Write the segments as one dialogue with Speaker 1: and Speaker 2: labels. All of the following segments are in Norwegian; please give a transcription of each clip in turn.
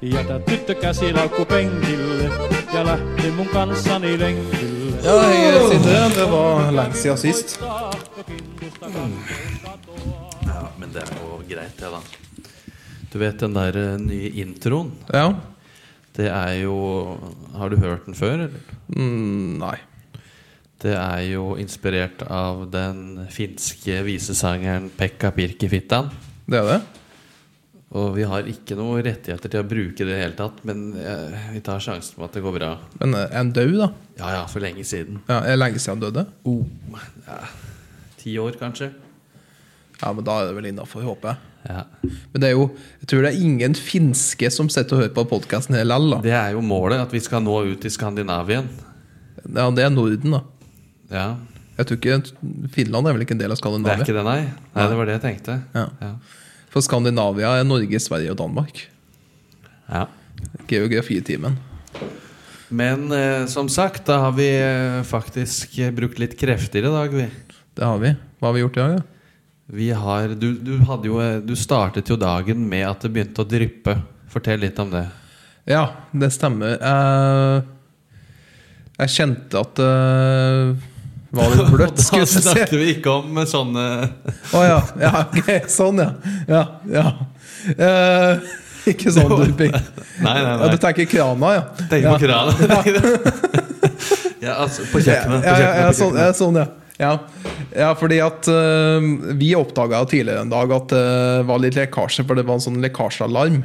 Speaker 1: Jätän tyttökäsilaukku penkille ja lähti mun kanssani lenkille.
Speaker 2: Ja, jeg sitter her. Det var lenge siden sist.
Speaker 3: Ja, men det er jo greit, det, da. Du vet den der eh, nye introen?
Speaker 2: Ja.
Speaker 3: Det er jo Har du hørt den før, eller?
Speaker 2: Mm, nei.
Speaker 3: Det er jo inspirert av den finske visesangeren Pekka Pirkifittan.
Speaker 2: Det er det?
Speaker 3: Og vi har ikke noen rettigheter til å bruke det i det hele tatt, men eh, vi tar sjansen på at det går bra.
Speaker 2: Men eh, er han død, da?
Speaker 3: Ja ja, for lenge siden.
Speaker 2: Ja, er det lenge siden han døde?
Speaker 3: Oh, ja. Ti år, kanskje?
Speaker 2: Ja, men da er det vel innafor, håper jeg.
Speaker 3: Ja.
Speaker 2: Men det er jo, jeg tror det er ingen finske som sitter og hører på podkasten her likevel,
Speaker 3: Det er jo målet, at vi skal nå ut i Skandinavien.
Speaker 2: da. Ja, det er Norden, da.
Speaker 3: Ja.
Speaker 2: Jeg tror ikke Finland er vel ikke en del av
Speaker 3: Det er
Speaker 2: Skandinavia?
Speaker 3: ikke det, nei? Nei, det var det jeg tenkte.
Speaker 2: Ja.
Speaker 3: Ja.
Speaker 2: For Skandinavia er Norge, Sverige og Danmark.
Speaker 3: Ja.
Speaker 2: Geografitimen.
Speaker 3: Men eh, som sagt, da har vi eh, faktisk eh, brukt litt krefter i dag, vi.
Speaker 2: Det har vi. Hva har vi gjort i dag, da?
Speaker 3: vi har, du, du, hadde jo, eh, du startet jo dagen med at det begynte å dryppe. Fortell litt om det.
Speaker 2: Ja, det stemmer. Jeg, jeg kjente at det var litt bløtt, skulle
Speaker 3: da
Speaker 2: jeg si.
Speaker 3: snakker vi ikke om eh, sånne
Speaker 2: Å ja. ja ok. Sånn, ja. Ja, ja. Eh, ikke sånn dumping.
Speaker 3: Nei, nei,
Speaker 2: Ja,
Speaker 3: nei.
Speaker 2: du tenker krana, ja.
Speaker 3: Tenk
Speaker 2: ja.
Speaker 3: på kranen. ja, altså, på kjøkkenet. På
Speaker 2: Ja, ja, ja,
Speaker 3: kjøkkenet, på
Speaker 2: sånn,
Speaker 3: kjøkkenet.
Speaker 2: ja, sånn, ja. Ja. ja, fordi at eh, vi oppdaga tidligere en dag at det var litt lekkasje, for det var en sånn lekkasjealarm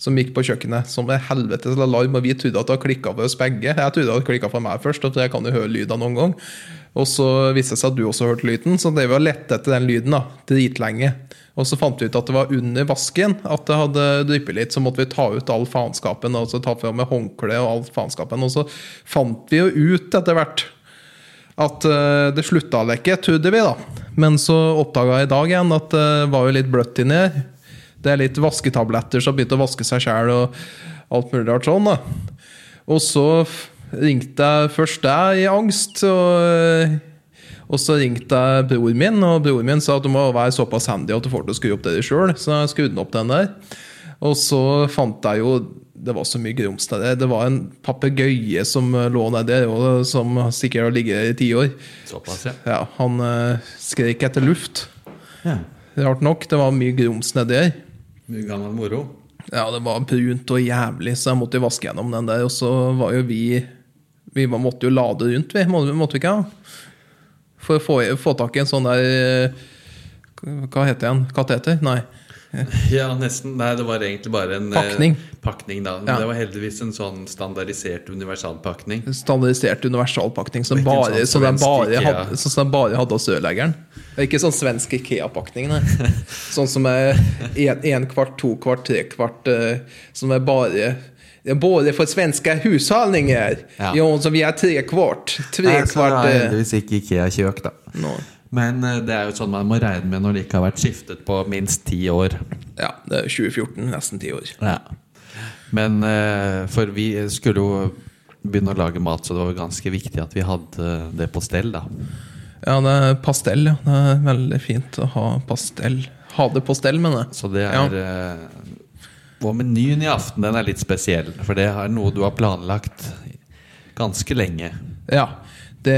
Speaker 2: som gikk på kjøkkenet. Som en helvetes alarm, og vi trodde at det hadde klikka for oss begge. Jeg trodde det hadde klikka for meg først, for jeg kan jo høre lyder noen gang. Og så viste det seg at du også hørte lyden, så det var lett etter den lyden da, dritlenge. Og så fant vi ut at det var under vasken at det hadde dryppet litt. Så måtte vi ta ut all faenskapen og så ta fram med håndkle og all faenskapen. Og så fant vi jo ut etter hvert at eh, det slutta ikke, trodde vi, da. Men så oppdaga jeg i dag igjen at det var jo litt bløtt inni her. Det er litt vasketabletter som har begynt å vaske seg sjæl, og alt mulig rart sånn, da. Og så f- ringte jeg først deg i angst, og, eh, og så ringte jeg bror min, og bror min sa at du må være såpass handy at du får til å skru opp det sjøl, så jeg skrudde opp den der. Og så fant jeg jo Det var så mye grums der. Det var en papegøye som eh, lå nedi der, og som sikkert har ligget der i ti år.
Speaker 3: Såpass, ja.
Speaker 2: Ja, han eh, skrek etter luft.
Speaker 3: ja.
Speaker 2: Rart nok. Det var mye grums nedi der.
Speaker 3: Mye gammel moro.
Speaker 2: Ja, det var brunt og jævlig, så jeg måtte jo vaske gjennom den der. Og så var jo vi Vi var- måtte jo lade rundt, vi. Må- Måtte vi ikke? ha? For å få, få tak i en sånn der eh, Hva heter den? Kateter? Nei.
Speaker 3: Ja, nesten. Nei, det var egentlig bare en eh,
Speaker 2: Pakning.
Speaker 3: pakning da. Men
Speaker 2: Ja.
Speaker 3: det var heldigvis en sånn standardisert universalpakning.
Speaker 2: standardisert universalpakning som
Speaker 3: Og ikke en
Speaker 2: bare,
Speaker 3: sånn
Speaker 2: så den
Speaker 3: svensk
Speaker 2: bare,
Speaker 3: IKEA.
Speaker 2: hadde, sånn som den bare hadde av sørleggeren. Det er Ikke sånn svensk Ikea-pakning, nei. Sånn som er en, en kvart, to kvart, tre kvart, eh, som er bare det er Både for svenske husholdninger!
Speaker 3: Ja.
Speaker 2: Jo, så vi er tre kvart. Tre
Speaker 3: Nei, så
Speaker 2: kvart
Speaker 3: det er
Speaker 2: eh,
Speaker 3: heldigvis ikke IKEA-kjøk, da.
Speaker 2: nå.
Speaker 3: Men eh, det er jo sånn man må regne med når det ikke har vært skiftet på minst ti år.
Speaker 2: Ja, det er 2014, nesten ti år.
Speaker 3: Men eh, for vi skulle jo begynne å lage mat, så det var jo ganske viktig at vi hadde det på stell, da.
Speaker 2: Ja, det er pastell, ja. Det er veldig fint å ha pastell. Ha det på stell, mener jeg.
Speaker 3: Så det er eh, Og menyen i aften, den er litt spesiell, for det er noe du har planlagt ganske lenge.
Speaker 2: Ja. Det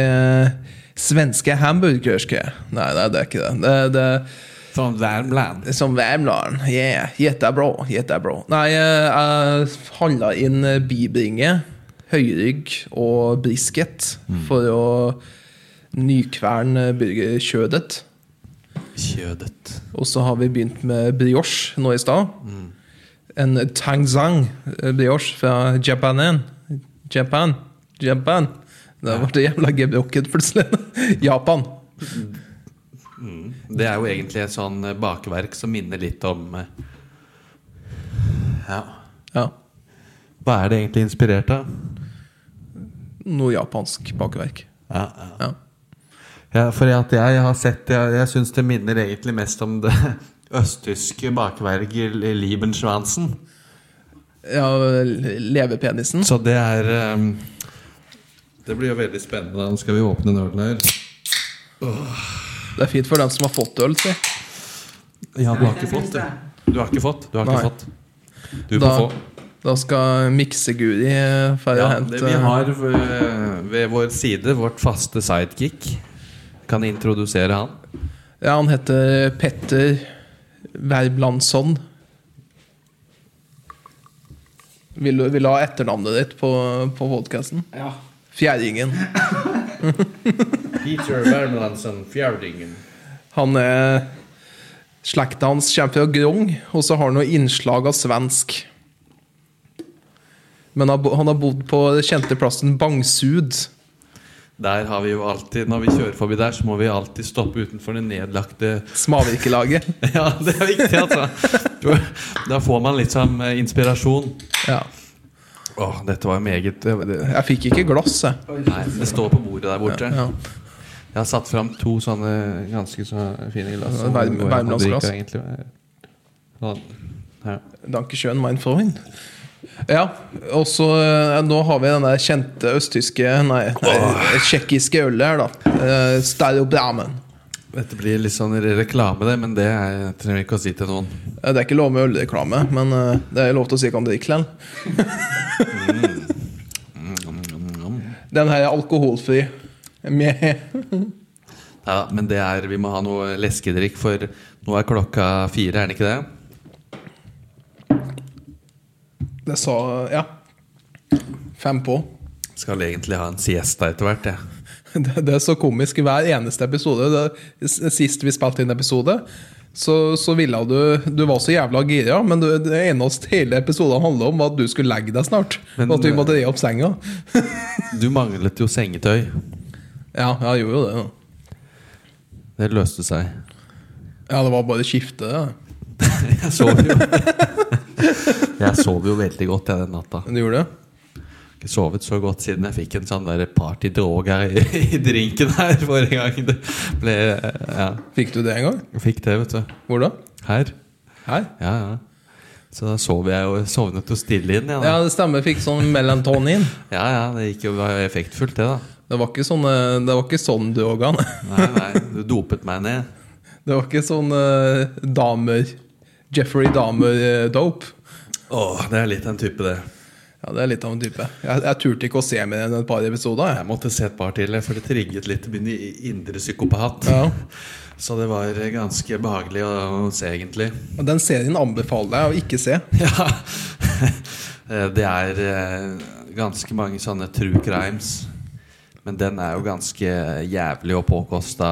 Speaker 2: svenske hamburgerske. Nei, nei, det er ikke det. Det, det
Speaker 3: Som Värmland.
Speaker 2: som Värmland. Yeah, jättebra, jättebra. Nei, eh, jeg handla inn bibringe, høyrygg og brisket for å nykverne burgerkjødet.
Speaker 3: Kjødet.
Speaker 2: Og så har vi begynt med brioche nå i stad. En tangzang brioche fra Japanen. Japan. Japan. Da ble det jævla gebrokket plutselig. Japan.
Speaker 3: Det er jo egentlig et sånn eh, bakverk som minner litt om eh, Ja.
Speaker 2: Ja.
Speaker 3: Hva er det egentlig inspirert av?
Speaker 2: Noe japansk bakverk.
Speaker 3: Ja,
Speaker 2: Ja.
Speaker 3: for at jeg har sett Jeg, jeg syns det minner egentlig mest om det østtyske bakverket Liebenschwanzen.
Speaker 2: ja leverpenisen.
Speaker 3: Så det er ehm, Det blir jo veldig spennende. Nå skal vi åpne en øl her.
Speaker 2: Det er fint for dem som har fått øl, si.
Speaker 3: Ja, du har ikke fått det. Du har ikke fått. Du har ikke
Speaker 2: Nei.
Speaker 3: fått. Du
Speaker 2: Da-
Speaker 3: må få.
Speaker 2: Da skal miksegudi eh, færre
Speaker 3: Ja,
Speaker 2: hente
Speaker 3: det vi har eh, ved vår side vårt faste sidekick. Kan introdusere han.
Speaker 2: Ja, han heter Petter Verblandsson. Vil du, vil du ha etternavnet ditt på, på podkasten?
Speaker 3: Ja.
Speaker 2: Fjerdingen.
Speaker 3: Peter Wermelandsen Fjerdingen.
Speaker 2: Han er Slekta hans kommer fra Grong, og så har han noe innslag av svensk. Men han har bo- han har bodd på den kjente plassen Bangsud.
Speaker 3: Der har vi jo alltid, Når vi kjører forbi der, så må vi alltid stoppe utenfor det nedlagte
Speaker 2: Smavirkelaget.
Speaker 3: Ja, det er viktig, altså. Da får man litt sånn eh, inspirasjon.
Speaker 2: Ja.
Speaker 3: Åh, dette var meget det- det-
Speaker 2: Jeg fikk ikke glass, jeg.
Speaker 3: Nei, det står på bordet der borte.
Speaker 2: Ja.
Speaker 3: Jeg har satt fram to sånne ganske så fine glass.
Speaker 2: Ja, Værm-
Speaker 3: som-
Speaker 2: Værmlandsglass.
Speaker 3: egentlig. Sånn. Her.
Speaker 2: Dankeschön, mein Freund. Ja, og så eh, Nå har vi den der kjente østtyske Nei, nei tsjekkiske ølet her, da. Eh, Staro Bramen.
Speaker 3: Dette blir litt sånn re- reklame, det, men det er, trenger vi ikke å si til noen.
Speaker 2: Eh, Det er ikke lov med ølreklame, men eh, det er lov til å si hva man drikker likevel. Den her er alkoholfri. Med
Speaker 3: Neida, men det er, vi må ha noe leskedrikk, for nå er klokka fire, er det ikke det?
Speaker 2: Det sa Ja. Fem på.
Speaker 3: Skal egentlig ha en siesta etter hvert, jeg.
Speaker 2: Det, det er så komisk i hver eneste episode. Det, s- sist vi spilte inn episode, så, så ville du Du var så jævla gira, men du, det eneste hele episoden handla om, var at du skulle legge deg snart.
Speaker 3: Men-
Speaker 2: og at vi måtte re opp senga.
Speaker 3: Du manglet jo sengetøy.
Speaker 2: Ja, jeg gjorde jo det. da.
Speaker 3: Det løste seg.
Speaker 2: Ja, det var bare skifte. Ja.
Speaker 3: Jeg sov jo Jeg sov jo veldig godt jeg, den natta.
Speaker 2: Men Du gjorde det?
Speaker 3: Jeg har ikke sovet så godt siden jeg fikk en sånn der party dog her i, i drinken her forrige gang. Det ble Ja.
Speaker 2: Fikk du det en gang?
Speaker 3: Jeg fikk det, vet du.
Speaker 2: Hvor da?
Speaker 3: Her.
Speaker 2: Her?
Speaker 3: Ja, ja. Så da sov jeg jo sovnet jo stille inn, jeg.
Speaker 2: Ja,
Speaker 3: da.
Speaker 2: det stemmer. Fikk sånn melantonin.
Speaker 3: Ja, ja, det gikk jo var jo effektfullt, det, da.
Speaker 2: Det var ikke sånn, eh, det var ikke sånn du òg,
Speaker 3: Nei, nei, du dopet meg ned.
Speaker 2: Det var ikke sånn eh, damer Jeffrey eh, Damer-dope.
Speaker 3: Åh, det er litt den type, det.
Speaker 2: ja, det er litt av en type. Jeg, jeg turte ikke å se mer enn et par episoder.
Speaker 3: Jeg
Speaker 2: Jeg.
Speaker 3: måtte se et par til, for det trigget litt min indre psykopat.
Speaker 2: Ja.
Speaker 3: Så det var eh, ganske behagelig å, å se, egentlig.
Speaker 2: Og Den serien anbefaler jeg å ikke se.
Speaker 3: Ja. Eh, Det er eh, ganske mange sånne true crimes. Men den er jo ganske jævlig og påkosta,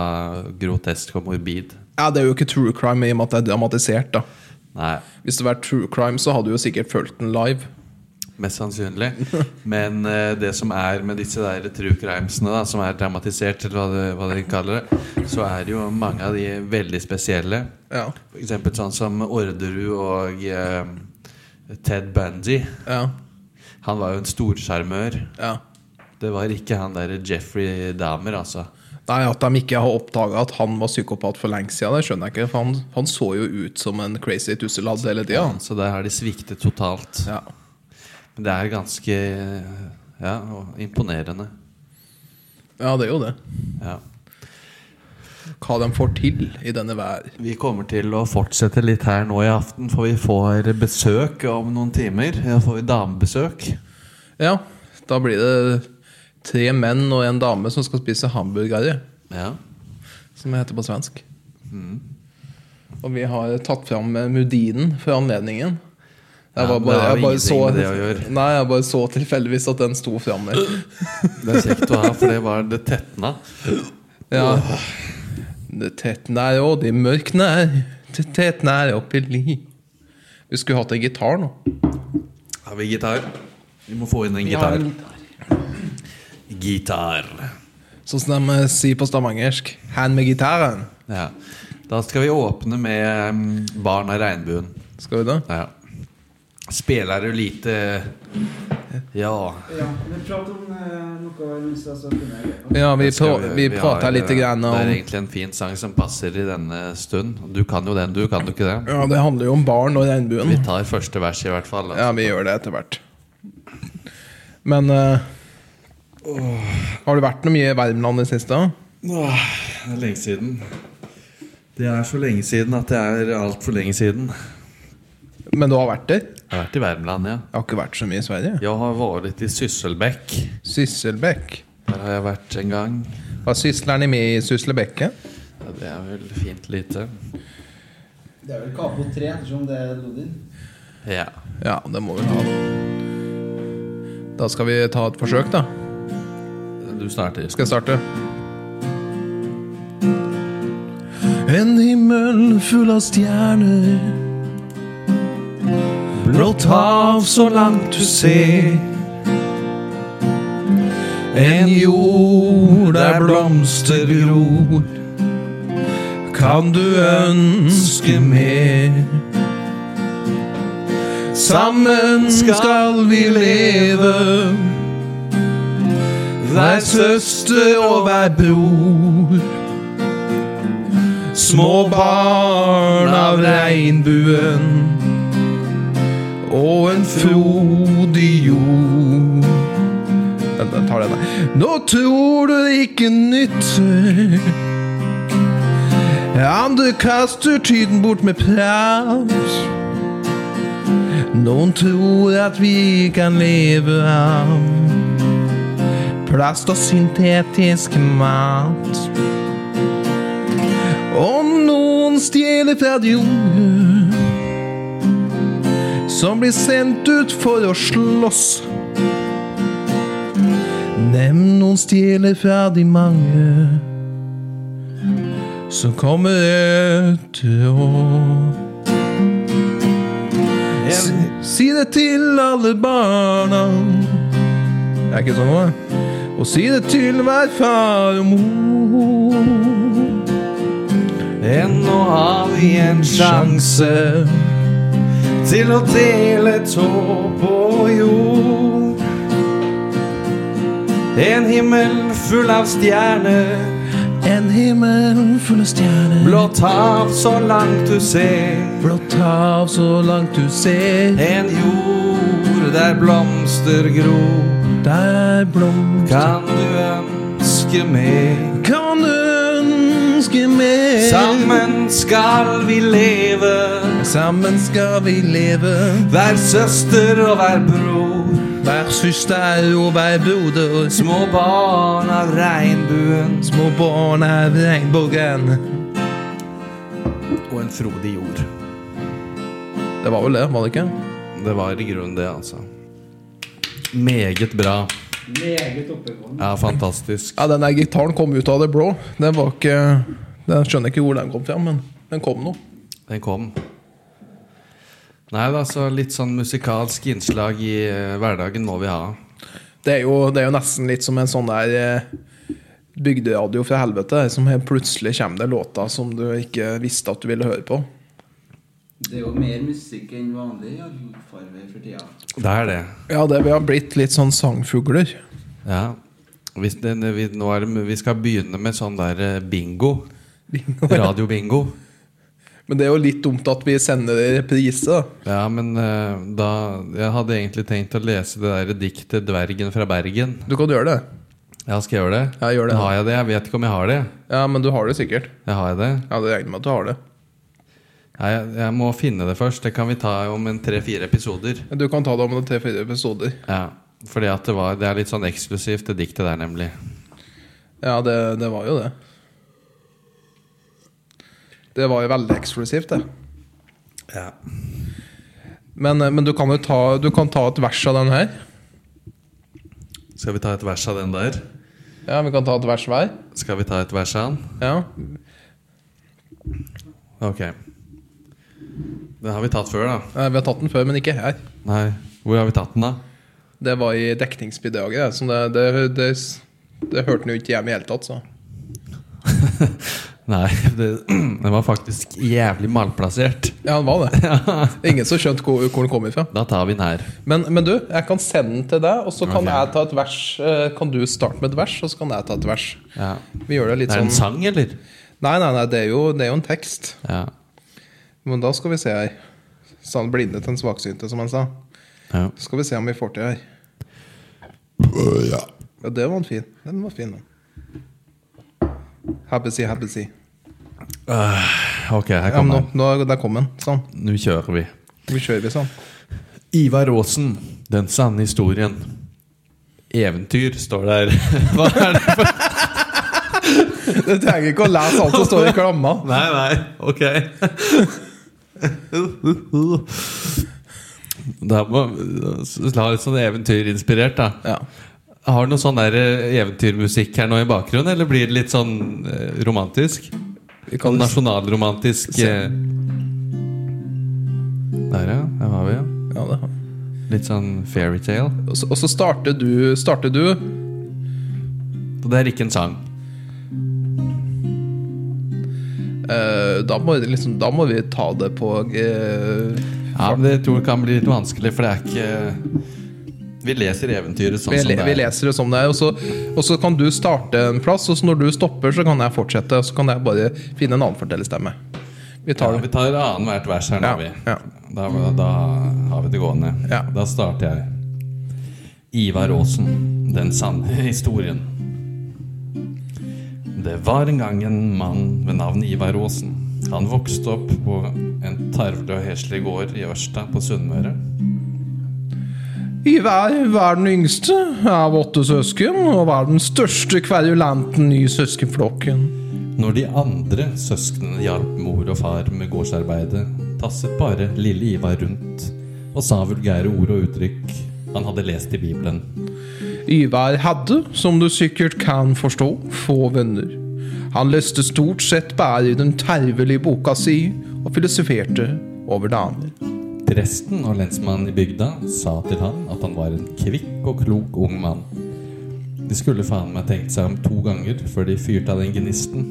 Speaker 3: grotesk og morbid.
Speaker 2: Ja, Det er jo ikke true crime i og med at det er dramatisert. da
Speaker 3: Nei,
Speaker 2: Hvis det var true crime, så hadde du jo sikkert følt den live.
Speaker 3: mest sannsynlig. Men eh, det som er med disse der true crimesene, da, som er dramatisert, eller hva det- hva dere kaller det, så er det jo mange av de veldig spesielle.
Speaker 2: Ja,
Speaker 3: For eksempel sånn som Orderud og eh, Ted Bundy.
Speaker 2: ja,
Speaker 3: Han var jo en storsjarmør.
Speaker 2: ja
Speaker 3: Det var ikke han der Jeffrey Dahmer, altså.
Speaker 2: Nei, At de ikke har oppdaga at han var psykopat for lenge siden, det skjønner jeg ikke. For han, han så jo ut som en crazy tusseladd hele tida.
Speaker 3: Så der har de sviktet totalt.
Speaker 2: Ja.
Speaker 3: Men det er ganske ja, og imponerende.
Speaker 2: ja, det er jo det.
Speaker 3: Ja.
Speaker 2: Hva de får til i denne vær.
Speaker 3: Vi kommer til å fortsette litt her nå i aften, for vi får besøk om noen timer. Da får vi damebesøk.
Speaker 2: Ja, da blir det tre menn og en dame som skal spise hamburgere,
Speaker 3: Ja.
Speaker 2: som det heter på svensk.
Speaker 3: Mm.
Speaker 2: Og vi har tatt fram eh, Mudinen for anledningen.
Speaker 3: Ja,
Speaker 2: Jeg var
Speaker 3: men
Speaker 2: bare,
Speaker 3: det har
Speaker 2: jeg
Speaker 3: jo
Speaker 2: bare så,
Speaker 3: ingenting med det å gjøre.
Speaker 2: Nei, jeg bare så tilfeldigvis at den sto framme.
Speaker 3: Det er kjekt å ha, for det var det tetna.
Speaker 2: Ja. Det tetner og de mørkner, det tetner opp i li. Vi skulle hatt en gitar nå.
Speaker 3: Har vi gitar? Vi må få inn en
Speaker 2: har
Speaker 3: gitar. Gitar.
Speaker 2: Sånn som de eh, sier på stavangersk. Hand med gitaren.
Speaker 3: Ja. Da skal vi åpne med mm, Barn av regnbuen.
Speaker 2: Skal vi det?
Speaker 3: Ja. Spelar du lite Ja.
Speaker 4: Ja, men prat om eh, noe mens jeg snakker med deg.
Speaker 2: Ja, vi,
Speaker 3: det skal
Speaker 2: pra vi, prater
Speaker 3: har- eh,
Speaker 2: litt grann om
Speaker 3: Det er egentlig en fin sang som passer i denne stund. Du kan jo den, du kan jo ikke det?
Speaker 2: Ja, det handler jo om barn og regnbuen.
Speaker 3: Vi tar første vers, i hvert fall. da.
Speaker 2: Ja, vi gjør det etter hvert. Men eh, Har du vært noe mye i Värmland i det siste?
Speaker 3: Åh, det er lenge siden. Det er så lenge siden at det er altfor lenge siden.
Speaker 2: Men du har vært der?
Speaker 3: Jeg har vært i Värmland, ja.
Speaker 2: Jeg har ikke vært så mye i Sverige.
Speaker 3: Jeg har vært i Sysselbäck.
Speaker 2: Sysselbäck.
Speaker 3: Der har jeg vært en gang.
Speaker 2: Hva sysler de med i Syslebekket?
Speaker 3: Ja, det er vel fint lite.
Speaker 4: Det er vel Kapo 3, ettersom det er Lodin.
Speaker 3: Ja.
Speaker 2: Ja, det må vi ta. Da skal vi ta et forsøk, da.
Speaker 3: Du starter.
Speaker 2: Skal jeg starte? En himmel full av stjerner. Blått hav så langt du ser. En jord der blomster gror. Kan du ønske mer? Sammen skal vi leve. Hver søster og hver bror. Små barn av regnbuen og en frodig jord. Vent, jeg tar den der. Nå tror du ikke nytter. Andre kaster tiden bort med prat. Noen tror at vi kan leve av plast og syntetisk mat. Og noen stjeler fra jord, som blir sendt ut for å slåss. Nevn noen stjeler fra de mange som kommer etter oss. Si, si det til alle barna. Det er ikke sånn nå, det. Og si det til hver far og mor.
Speaker 3: Ennå har vi en
Speaker 2: Sjanse.
Speaker 3: til å dele tå på jord. En himmel full av stjerner,
Speaker 2: En himmel full av stjerner.
Speaker 3: blått hav så langt du ser.
Speaker 2: blått hav så langt du ser.
Speaker 3: En jord der blomster gror.
Speaker 2: Der blomster
Speaker 3: Kan du ønske mer?
Speaker 2: Kan du ønske mer?
Speaker 3: Sammen skal vi leve,
Speaker 2: Sammen skal vi leve.
Speaker 3: hver søster og hver bror.
Speaker 2: Hver søster og hver broder.
Speaker 3: Små barn av regnbuen
Speaker 2: Små barn av regnbuen.
Speaker 3: og en frodig jord.
Speaker 2: Det var vel det, var det ikke?
Speaker 3: Det var i grunnen det, altså. Meget bra.
Speaker 4: Meget oppegående.
Speaker 3: Ja, fantastisk.
Speaker 2: Ja, den der gitaren kom ut av det blå. Den var ikke Den skjønner ikke hvor den kom fra, men den kom nå.
Speaker 3: Den kom. Nei da, så litt sånn musikalsk innslag i eh, hverdagen må vi ha.
Speaker 2: Det er jo, det er jo nesten litt som en sånn der eh, bygderadio fra helvete, som helt plutselig kommer det låter som du ikke visste at du ville høre på.
Speaker 4: Det er jo mer musikk enn vanlig i allfarvei for tida.
Speaker 3: Det er det.
Speaker 2: Ja, det vi har blitt litt sånn sangfugler.
Speaker 3: Ja. Hvis den, vi, nå er det, vi skal begynne med sånn der eh, bingo. Radiobingo.
Speaker 2: Men det er jo litt dumt at vi sender det i reprise. da.
Speaker 3: Ja, men eh, da Jeg hadde egentlig tenkt å lese det der diktet 'Dvergen fra Bergen'.
Speaker 2: Du kan gjøre det.
Speaker 3: Ja, skal jeg gjøre det?
Speaker 2: Ja, gjør det.
Speaker 3: Har jeg det? Jeg vet ikke om jeg har det.
Speaker 2: Ja, men du har det sikkert.
Speaker 3: Jeg har jeg det?
Speaker 2: Ja, det regner med at du har det.
Speaker 3: Nei, jeg, jeg må finne det først. Det kan vi ta om en tre-fire episoder.
Speaker 2: Du kan ta det om tre-fire episoder.
Speaker 3: Ja, fordi at det, var, det er litt sånn eksklusivt, det diktet der, nemlig.
Speaker 2: Ja, det, det var jo det. Det var jo veldig eksklusivt, det.
Speaker 3: Ja.
Speaker 2: Men, eh, men du kan jo ta, du kan ta et vers av den her.
Speaker 3: Skal vi ta et vers av den der?
Speaker 2: Ja, vi kan ta et vers hver.
Speaker 3: Skal vi ta et vers av den?
Speaker 2: Ja.
Speaker 3: Ok. Den har vi tatt før, da.
Speaker 2: Eh, Vi har tatt den før, men ikke her.
Speaker 3: Nei, hvor har vi tatt den, da?
Speaker 2: Det var i dekningsbidraget. det, som Det, det, det, det hørte den jo ikke hjemme i det hele tatt. Så.
Speaker 3: Nei, det, den var faktisk jævlig malplassert.
Speaker 2: Ja, han var det. Ingen som skjønte hvor, hvor den kom ifra.
Speaker 3: Da tar vi den her.
Speaker 2: Men, men du, jeg kan sende den til deg, og så kan
Speaker 3: Ok.
Speaker 2: jeg ta et vers. eh, Kan du starte med et vers, og så kan jeg ta et vers.
Speaker 3: Ja.
Speaker 2: Vi gjør det
Speaker 3: Det
Speaker 2: litt
Speaker 3: er
Speaker 2: sånn
Speaker 3: en sang, eller?
Speaker 2: Nei, nei, nei, det er jo, det er jo en tekst.
Speaker 3: Ja.
Speaker 2: Men da skal vi se her. Sa han blinde til en svaksynte, som han sa.
Speaker 3: ja.
Speaker 2: Så skal vi se om vi får til her. Ja, det var en fin. Den var fin, den. Happy-see, happy-see.
Speaker 3: Ok, her
Speaker 2: Ja, men
Speaker 3: kommer
Speaker 2: nå,
Speaker 3: den.
Speaker 2: nå, der kom den. Sånn.
Speaker 3: Nå kjører vi.
Speaker 2: Vi kjører vi sånn.
Speaker 3: Ivar Aasen, den sanne historien. Eventyr står der. Hva er det?
Speaker 2: Du trenger ikke å lese alt som står i klamma.
Speaker 3: Nei, nei, ok. Da må la litt sånn eventyrinspirert, da.
Speaker 2: Ja.
Speaker 3: Har du noe sånn der eh, eventyrmusikk her nå i bakgrunnen, eller blir det litt sånn eh, romantisk?
Speaker 2: Vi
Speaker 3: Sånn
Speaker 2: kan
Speaker 3: nasjonalromantisk
Speaker 2: Se.
Speaker 3: eh. Der, ja. Der har vi ja.
Speaker 2: ja, det. har-
Speaker 3: Litt sånn fairytale.
Speaker 2: Og så- og så starter du, starter du
Speaker 3: Og det er ikke en sang.
Speaker 2: eh, da, må, det liksom, da må vi ta det på eh,
Speaker 3: Ja, men Det tror jeg kan bli litt vanskelig, for det er ikke Vi leser eventyret sånn
Speaker 2: vi,
Speaker 3: som det
Speaker 2: le,
Speaker 3: er.
Speaker 2: vi leser det som det er, og så, og så kan du starte en plass, og så når du stopper, så kan jeg fortsette. Og så kan jeg bare finne en annen fortellerstemme. Vi tar
Speaker 3: Ja,
Speaker 2: det.
Speaker 3: vi tar annethvert vers her nå,
Speaker 2: Ja,
Speaker 3: vi.
Speaker 2: ja.
Speaker 3: Da, da har vi det gående.
Speaker 2: Ja.
Speaker 3: Da starter jeg. Ivar Aasen, den sanne historien. Det var en gang en mann ved navn Ivar Aasen. Han vokste opp på en tarvelig og heslig gård i Ørsta på Sunnmøre.
Speaker 2: Ivar var den yngste av åtte søsken, og var den største kverulanten i søskenflokken.
Speaker 3: Når de andre søsknene hjalp mor og far med gårdsarbeidet, tasset bare lille Ivar rundt og sa vulgære ord og uttrykk han hadde lest i Bibelen.
Speaker 2: Ivar hadde, som du sikkert kan forstå, få venner. Han leste stort sett bare i den tervelige boka si, og filosoferte over damer.
Speaker 3: Presten og lensmannen i bygda sa til han at han var en kvikk og klok ung mann. De skulle faen meg tenkt seg om to ganger før de fyrte av den gnisten.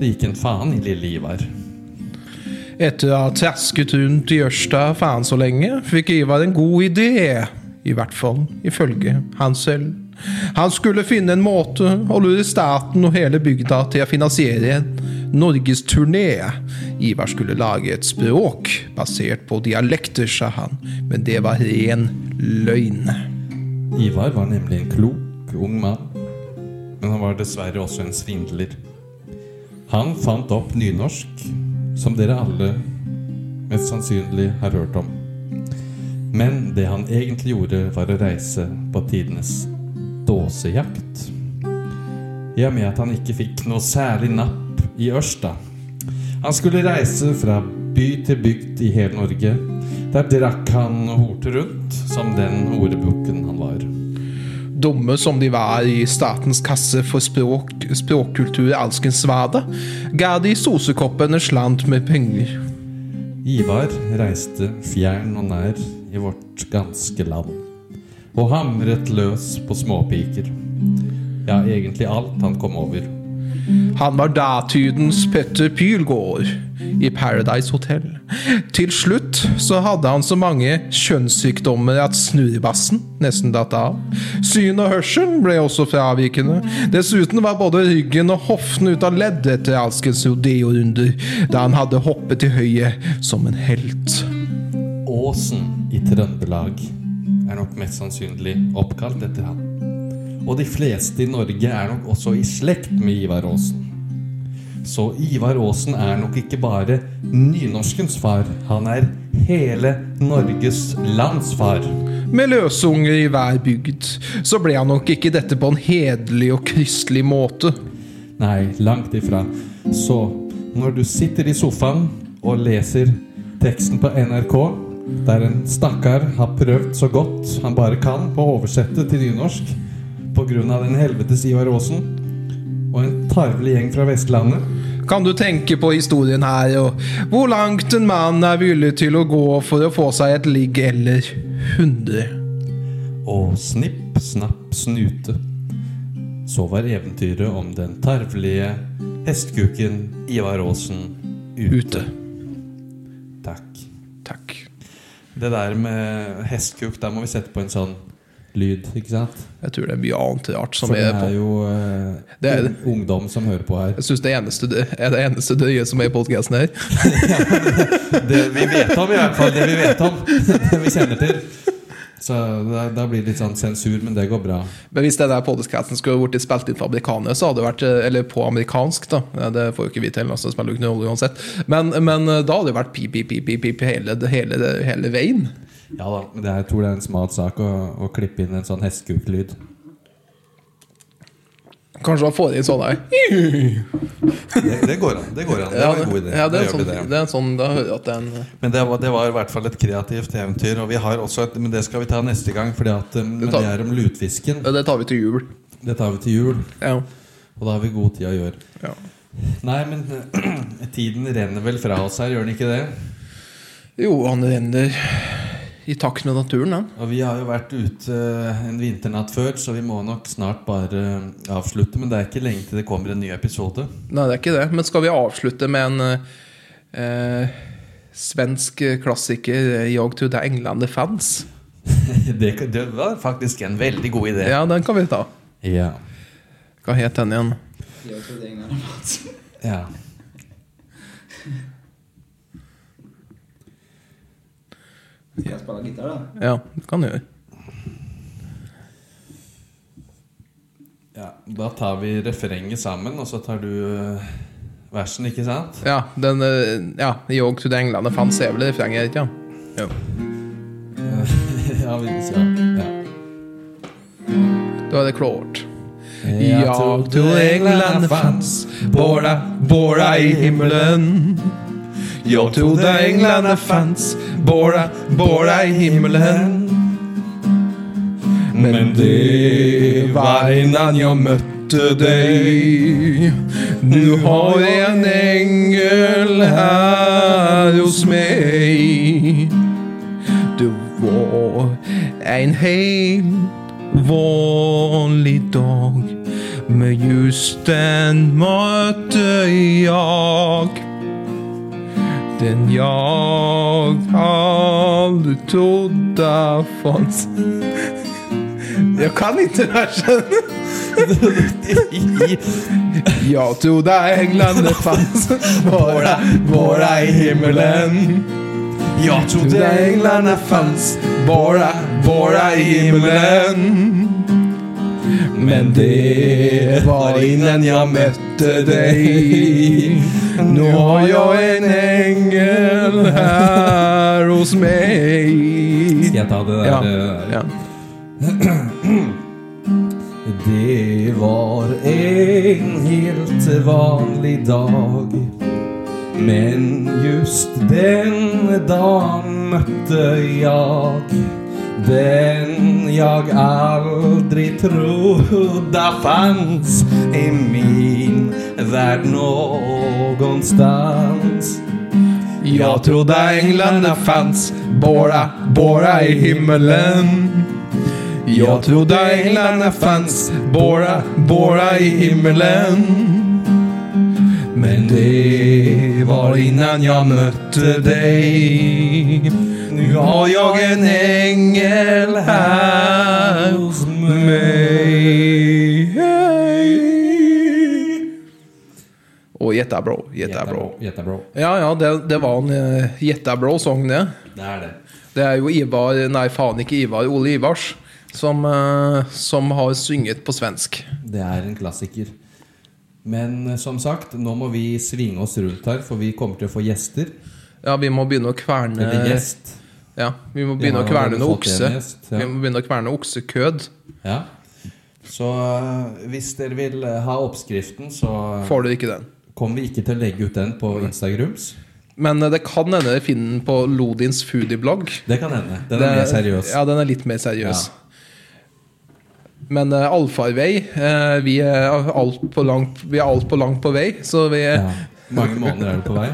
Speaker 3: Det gikk en faen i lille Ivar.
Speaker 2: Etter å ha trasket rundt i Ørsta faen så lenge, fikk Ivar en god idé. I hvert fall ifølge han selv. Han skulle finne en måte å lure staten og hele bygda til å finansiere en norgesturné. Ivar skulle lage et språk basert på dialekter, sa han, men det var ren løgn.
Speaker 3: Ivar var nemlig en klok, ung mann, men han var dessverre også en svindler. Han fant opp nynorsk, som dere alle mest sannsynlig har hørt om. Men det han egentlig gjorde, var å reise på tidenes dåsejakt. I og med at han ikke fikk noe særlig napp i Ørsta. Han skulle reise fra by til bygd i hele Norge. Der drakk han og horte rundt, som den horebukken han var.
Speaker 2: Dumme som de var i statens kasse for språk, språkkultur alskensvade, ga de sosekoppen en slant med penger.
Speaker 3: Ivar reiste fjern og nær i vårt ganske land og hamret løs på småpiker. Ja, egentlig alt han kom over.
Speaker 2: Han var datidens Petter Pylgaard i Paradise Hotel. Til slutt så hadde han så mange kjønnssykdommer at snurrebassen nesten datt av. Syn og hørsel ble også fravikende. Dessuten var både ryggen og hoften ute av ledd etter alskens rodeo-runder, da han hadde hoppet til høyre som en helt.
Speaker 3: Åsen i Trøndelag er nok mest sannsynlig oppkalt etter han. Og de fleste i Norge er nok også i slekt med Ivar Aasen. Så Ivar Aasen er nok ikke bare nynorskens far, han er hele Norges lands far.
Speaker 2: Med løsunger i hver bygd, så ble han nok ikke dette på en hederlig og kristelig måte.
Speaker 3: Nei, langt ifra. Så når du sitter i sofaen og leser teksten på NRK, der en stakkar har prøvd så godt han bare kan på å oversette til nynorsk pga. den helvetes Ivar Aasen, og en tarvelig gjeng fra Vestlandet
Speaker 2: Kan du tenke på historien her, og hvor langt en mann er villig til å gå for å få seg et ligg eller 100?
Speaker 3: Og snipp, snapp, snute. Så var eventyret om den tarvelige hestkuken Ivar Aasen ute.
Speaker 2: Ute.
Speaker 3: Takk.
Speaker 2: Takk.
Speaker 3: Det der med hestkuk, der må vi sette på en sånn lyd, ikke sant?
Speaker 2: Jeg tror det er mye annet rart som
Speaker 3: For det
Speaker 2: er på.
Speaker 3: er jo eh,
Speaker 2: Det er det.
Speaker 3: ung- ungdom som hører på her.
Speaker 2: Jeg syns det eneste det er det eneste døye som er i podkasten her.
Speaker 3: Det vi vet om, i hvert fall. Det vi vet om. Det vi kjenner til. Så da, da blir det litt sånn sensur, men det går bra.
Speaker 2: Men hvis denne podcasten skulle vært spilt inn på amerikaner, så hadde det vært eh, Eller på amerikansk, da. Det får jo ikke vi til, altså, det spiller jo ikke noe rolle uansett. Men, men eh, da hadde det vært pip, pip, pip, pip, pip hele, hele, hele veien.
Speaker 3: Ja da, men det, jeg tror det er en smart sak å, å klippe inn en sånn hestekuklyd.
Speaker 2: Kanskje man får inn sånn her.
Speaker 3: Det, det går an. Det går an. Det
Speaker 2: Ja,
Speaker 3: var en god idé.
Speaker 2: ja, det
Speaker 3: Da
Speaker 2: er en
Speaker 3: gjør vi
Speaker 2: sånn,
Speaker 3: det.
Speaker 2: det er en sånn Da hører jeg at det er en
Speaker 3: Men det var, det var i hvert fall et kreativt eventyr. Og vi har også et, men det skal vi ta neste gang, for det
Speaker 2: tar-
Speaker 3: er om lutfisken.
Speaker 2: ja, Det tar vi til jul.
Speaker 3: Det tar vi til jul,
Speaker 2: Ja.
Speaker 3: og da har vi god tid å gjøre.
Speaker 2: ja.
Speaker 3: Nei, men tiden renner vel fra oss her, gjør den ikke det?
Speaker 2: Jo, han renner i takt med naturen, han.
Speaker 3: Og vi har jo vært ute eh, en vinternatt før, så vi må nok snart bare eh, avslutte. Men det er ikke lenge til det kommer en ny episode.
Speaker 2: Nei, det er ikke det. Men skal vi avslutte med en eh, eh, svensk klassiker, eh, 'Jag trodde England det fanns'?
Speaker 3: Det, det var faktisk en veldig god idé.
Speaker 2: Ja, den kan vi ta.
Speaker 3: Ja.
Speaker 2: Hva het den igjen?
Speaker 4: Jeg tror det er en gang mat.
Speaker 3: ja.
Speaker 4: Skal jeg spille gitar, da?
Speaker 2: Ja, det kan du gjøre.
Speaker 3: Ja, Da tar vi refrenget sammen, og så tar du eh, versen, ikke sant?
Speaker 2: Ja, den eh, Ja, 'Jag trodde England det fanns' er vel det refrenget, ikke sant? Jo.
Speaker 3: ja, vi vil si ja. ja.
Speaker 2: Da er det klart.
Speaker 3: Jeg trodde England fanns, båda, båda i
Speaker 2: himmelen.
Speaker 3: Jag trodde England fanns,
Speaker 2: båda,
Speaker 3: båda i himmelen. Men det var innan jag mötte dig.
Speaker 2: Nu har jag en ängel här hos mig. Du var en helt vanlig dag. Men just den mötte jag. Den jag aldrig trodde fanns. Jag kan inte versen. Jag trodde England det fanns. Våra, våra i himmelen.
Speaker 3: Jag
Speaker 2: Trodde änglarna fanns. Våra, våra i himmelen. Men det var innan jag mötte dig. Nu har jag en ängel här hos mig.
Speaker 3: Ska jag ta det där?
Speaker 2: Ja.
Speaker 3: eh,
Speaker 2: Ja.
Speaker 3: Det var en helt vanlig dag. Men just denne dagen møtte jeg den jeg aldri trodde fanns i min verd någonstans.
Speaker 2: Jag trodde änglarna fanns, bara, bara i himmelen. Jag trodde änglarna fanns, bara, bara i himmelen. Men det var innan jag mötte dig. Nu har jag en ängel här hos mig. Och jättebra, jättebra.
Speaker 3: Jättebra.
Speaker 2: Ja, ja, det, det var en uh, jettebra sang, det.
Speaker 3: Det er det.
Speaker 2: Det er jo Ivar Nei, faen ikke Ivar. Ole Ivars. Som, eh, som har synget på svensk.
Speaker 3: Det er en klassiker. Men eh, som sagt, nå må vi svinge oss rundt her, for vi kommer til å få gjester.
Speaker 2: Ja, vi må begynne å kverne
Speaker 3: Eller gjest.
Speaker 2: Ja, Vi må begynne
Speaker 3: har
Speaker 2: Eh, å kverne
Speaker 3: allerede
Speaker 2: noe
Speaker 3: fått
Speaker 2: okse.
Speaker 3: en gjest, ja.
Speaker 2: Vi må begynne å kverne oksekød.
Speaker 3: Ja. Så eh, hvis dere vil eh, ha oppskriften, så
Speaker 2: Får du ikke den.
Speaker 3: kommer vi ikke til å legge ut den på Instagrams.
Speaker 2: Men eh, det kan hende dere finner den på Lodins foodieblogg.
Speaker 3: Det kan hende. Den er mer seriøs.
Speaker 2: Ja, den er litt mer seriøs. Men uh, allfarvei eh, Vi er alt på langt Vi er alt på langt på vei, så vi
Speaker 3: Ja. Mange måneder er du på vei.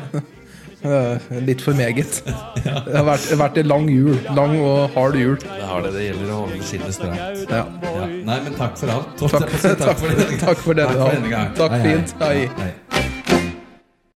Speaker 2: Eh, Litt for meget. Det har vært, vært en lang jul. Lang og hard jul.
Speaker 3: Det har det. Det gjelder å holde skinnet stramt.
Speaker 2: Ja.
Speaker 3: Ja. Nei, men takk for alt.
Speaker 2: Takk,
Speaker 3: Takk for denne
Speaker 2: takk for denne gang.
Speaker 3: gang.
Speaker 2: Takk
Speaker 3: Hei, hei.
Speaker 2: fint. Hei.
Speaker 3: Ja, hei.